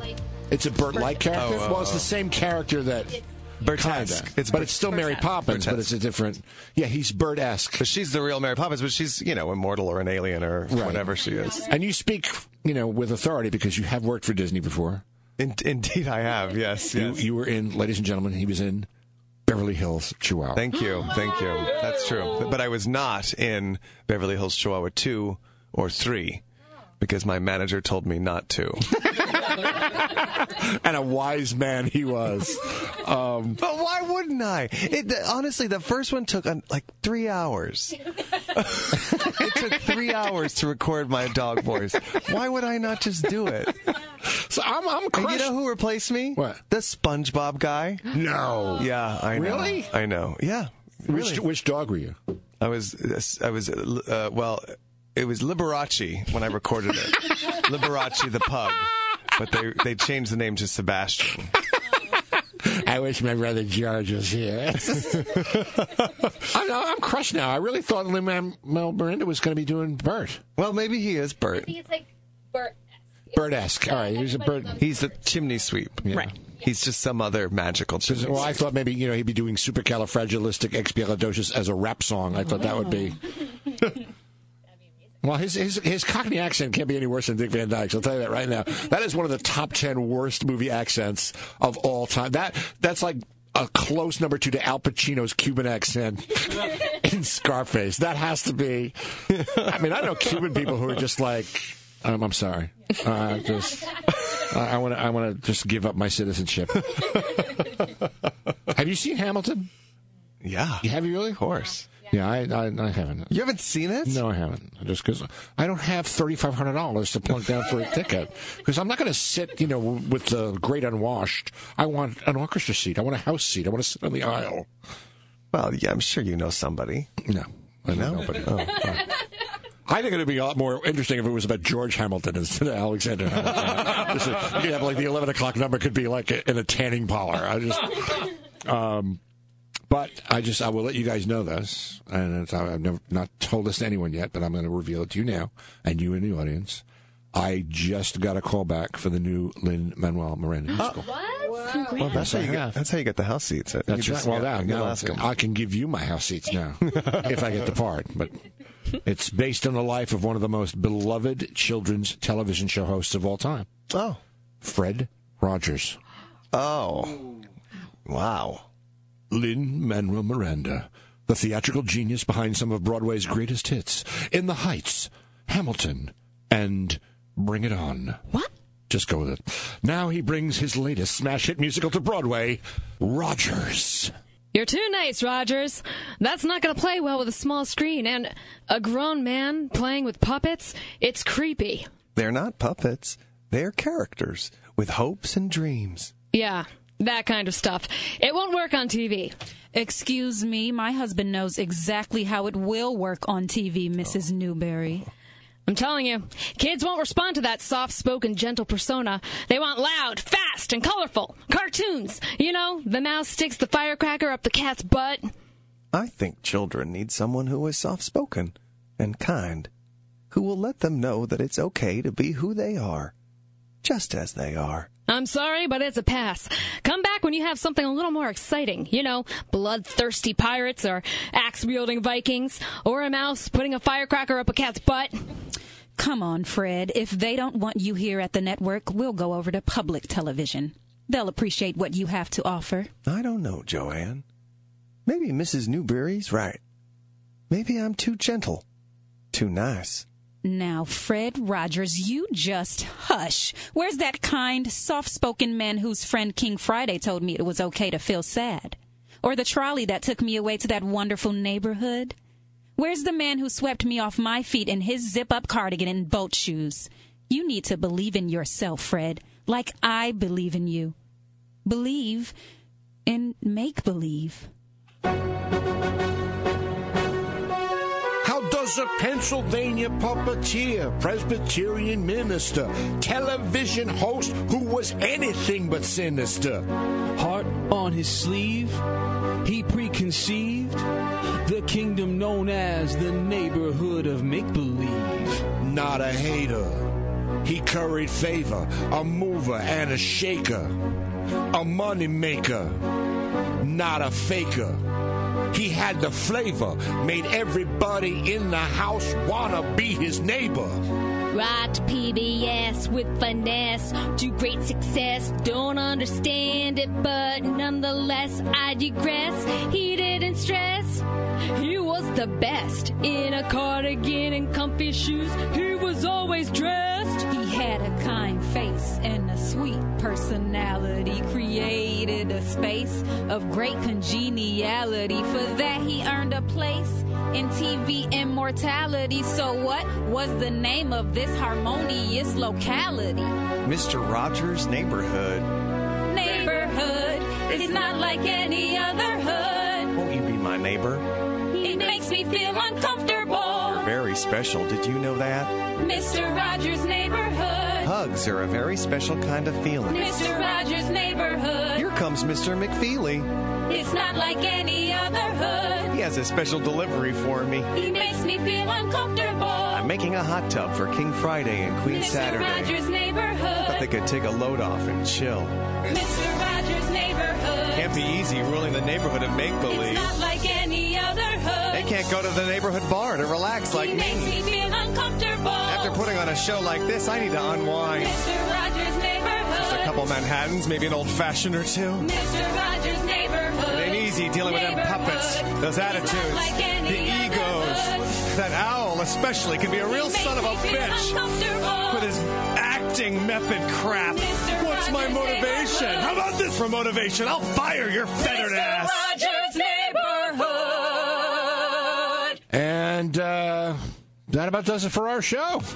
B: It's a Bert-like character.
F: Oh, oh,
B: well, it's
F: oh.
B: the same character that
F: Bertesque.
B: Kinda. but it's still Mary Poppins, but it's a different. Yeah, he's Bert-esque.
F: But she's the real Mary Poppins, but she's, you know, immortal or an alien or
B: Right.
F: whatever she is.
B: And you speak, you know, with authority because you have worked for Disney before.
F: In- indeed, I have. Yes. yes.
B: You, you were in, ladies and gentlemen, he was in Beverly Hills Chihuahua.
F: Thank you. Thank you. That's true. But I was not in Beverly Hills Chihuahua 2 or 3 because my manager told me not to.
B: and a wise man he was. Um,
F: but why wouldn't I? It, the, honestly, the first one took um, like three hours. it took three hours to record my dog voice. Why would I not just do it?
B: So I'm, I'm
F: And you know who replaced me? What? The SpongeBob guy.
B: No.
F: Yeah, I know.
B: Really?
F: I know. Yeah.
B: Which-
F: which
B: dog were you?
F: I was I was uh, well, it was Liberace when I recorded it. Liberace the pug, but they they changed the name to Sebastian.
B: I wish my brother George was here. I'm, I'm crushed now. I really thought Lin Manuel Miranda was going to be doing Bert.
F: Well, maybe he is Bert.
K: think it's like Bert.
B: Bert-esque. All right, he's a Bert.
F: He's the chimney sweep.
B: Right.
F: He's just some other magical. Chimney
B: Well, I thought maybe you know he'd be doing supercalifragilisticexpialidocious as a rap song. I thought that would
F: Oh.
B: be. Well, his, his his Cockney accent can't be any worse than Dick Van Dyke's. I'll tell you that right now. That is one of the top ten worst movie accents of all time. That that's like a close number two to Al Pacino's Cuban accent in Scarface. That has to be. I mean, I know Cuban people who are just like, um, I'm sorry, uh, just I want to I want to just give up my citizenship. Have you seen Hamilton?
F: Yeah.
B: Have you really? Of
F: course.
B: Yeah, I, I, I haven't.
F: You haven't seen it?
B: No, I haven't. Just because I don't have thirty five hundred dollars to plunk down for a ticket, because I'm not going to sit, you know, with the great unwashed. I want an orchestra seat. I want a house seat. I want to sit on the aisle.
F: Well, yeah, I'm sure you know somebody. Oh,
B: No, I know nobody. I think it would be a lot more interesting if it was about George Hamilton instead of Alexander Hamilton. This is- you could have like the 11 o'clock number could be like in a tanning parlor. I just, um, but I just, I will let you guys know this. And it's, I've never, not told this to anyone yet, but I'm going to reveal it to you now and you in the audience. I just got a call back for the new Lynn Manuel Miranda musical.
K: What?
F: Well, that's how you
B: Yeah.
F: get. That's how you get the house seats. You
B: That's right.
F: just-
B: Well,
F: yeah,
B: now,
F: you
B: now
F: ask 'em.
B: I can give you my house seats now if I get the part. But it's based on the life of one of the most beloved children's television show hosts of all time.
F: Oh,
B: Fred Rogers.
F: Oh, wow.
B: Lynn Manuel Miranda, the theatrical genius behind some of Broadway's greatest hits, In the Heights, Hamilton, and Bring It On. What? Just go with it. Now he brings his latest smash hit musical to Broadway, Rogers.
J: You're too nice, Rogers. That's not going to play well with a small screen and a grown man playing with puppets. It's creepy.
F: They're not puppets. They're characters with hopes and dreams.
J: Yeah, that kind of stuff. It won't work on TV.
D: Excuse me, my husband knows exactly how it will work on TV, Mrs. Newberry.
J: I'm telling you, kids won't respond to that soft spoken, gentle persona. They want loud, fast, and colorful cartoons. You know, the mouse sticks the firecracker up the cat's butt.
F: I think children need someone who is soft spoken and kind, who will let them know that it's okay to be who they are, just as they are.
J: I'm sorry, but it's a pass. Come back when you have something a little more exciting. You know, bloodthirsty pirates or axe wielding Vikings or a mouse putting a firecracker up a cat's butt.
D: Come on, Fred. If they don't want you here at the network, we'll go over to public television. They'll appreciate what you have to offer.
F: I don't know, Joanne. Maybe Mrs. Newberry's right. Maybe I'm too gentle, too nice.
D: Now, Fred Rogers, you just hush. Where's that kind, soft spoken man whose friend King Friday told me it was okay to feel sad? Or the trolley that took me away to that wonderful neighborhood? Where's the man who swept me off my feet in his zip up cardigan and boat shoes? You need to believe in yourself, Fred, like I believe in you. Believe in make believe.
B: How does a Pennsylvania puppeteer, Presbyterian minister, television host who was anything but sinister?
E: Heart on his sleeve, he preconceived the kingdom known as the neighborhood of make believe.
B: Not a hater. He curried favor, a mover and a shaker, a money maker, not a faker. He had the flavor, made everybody in the house wanna be his neighbor.
J: Rocked PBS with finesse to great success. Don't understand it, but nonetheless, I digress. He didn't stress. He was the best in a cardigan and comfy shoes. He was always dressed.
L: He had a kind face and a sweet personality. Created a space of great congeniality. For that, he earned a place in TV immortality. So, what was the name of this harmonious locality?
F: Mr. Rogers' neighborhood.
L: Neighborhood. It's not like any other hood.
F: Won't you be my neighbor?
L: It makes me feel uncomfortable.
F: You're very special. Did you know that?
L: Mr. Rogers' neighborhood.
F: Hugs are a very special kind of feeling.
L: Mr. Rogers' neighborhood.
F: Here comes Mr. McFeely.
L: It's not like any other hood.
F: He has a special delivery for me.
L: He makes me feel uncomfortable.
F: I'm making a hot tub for King Friday and Queen
L: Mr.
F: Saturday.
L: Rogers'
F: Thought they
L: neighborhood.
F: could take a load off and chill.
L: Mr. Rogers' neighborhood.
F: Can't be easy ruling the neighborhood of make
L: It's
F: believe.
L: not like any other hood.
F: They can't go to the neighborhood bar to relax like
L: he
F: me.
L: makes me feel uncomfortable.
F: After putting on a show like this, I need to unwind.
L: Mr. Rogers' neighborhood.
F: Just a couple Manhattans, maybe an old fashioned or two.
L: Mr. Rogers'
F: It
L: neighborhood.
F: ain't easy dealing with them puppets, those attitudes,
L: like any
F: the
L: other
F: egos. That owl, especially, can be a real
L: He makes
F: son of a
L: me feel
F: bitch
L: uncomfortable.
F: with his acting method crap.
L: Mr.
F: What's my
L: Rogers'
F: motivation?
L: neighborhood.
F: How about this for motivation? I'll fire your fettered ass.
L: Rogers' neighborhood.
B: And uh, that about does it for our show.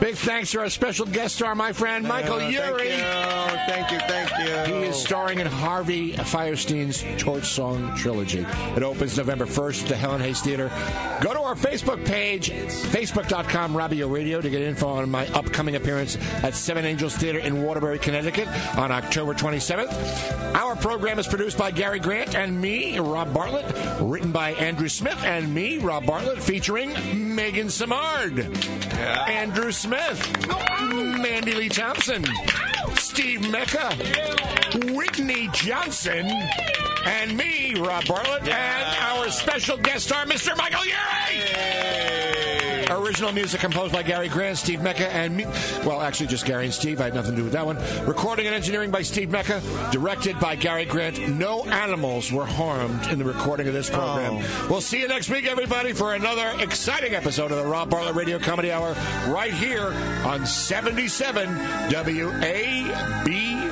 B: Big thanks to our special guest star, my friend Michael
F: Uh,
B: Yuri.
F: Oh, Thank you, thank you, thank you.
B: He is starring in Harvey Firestein's Torch Song Trilogy. It opens November 1st at the Helen Hayes Theater. Go to our Facebook page, facebook.com Robbio Radio, to get info on my upcoming appearance at Seven Angels Theater in Waterbury, Connecticut on October 27th. Our program is produced by Gary Grant and me, Rob Bartlett, written by Andrew Smith and me, Rob Bartlett, featuring Megan Samard, Andrew Smith, Mandy Lee Thompson. Steve Mecca, Whitney Johnson, and me, Rob Bartlett, and our special guest star, Mr. Michael Urey. Original music composed by Gary Grant, Steve Mecca, and me. Well, actually, just Gary and Steve. I had nothing to do with that one. Recording and engineering by Steve Mecca. Directed by Gary Grant. No animals were harmed in the recording of this program. We'll see you next week, everybody, for another exciting episode of the Rob Bartlett Radio Comedy Hour right here on 77 WABC.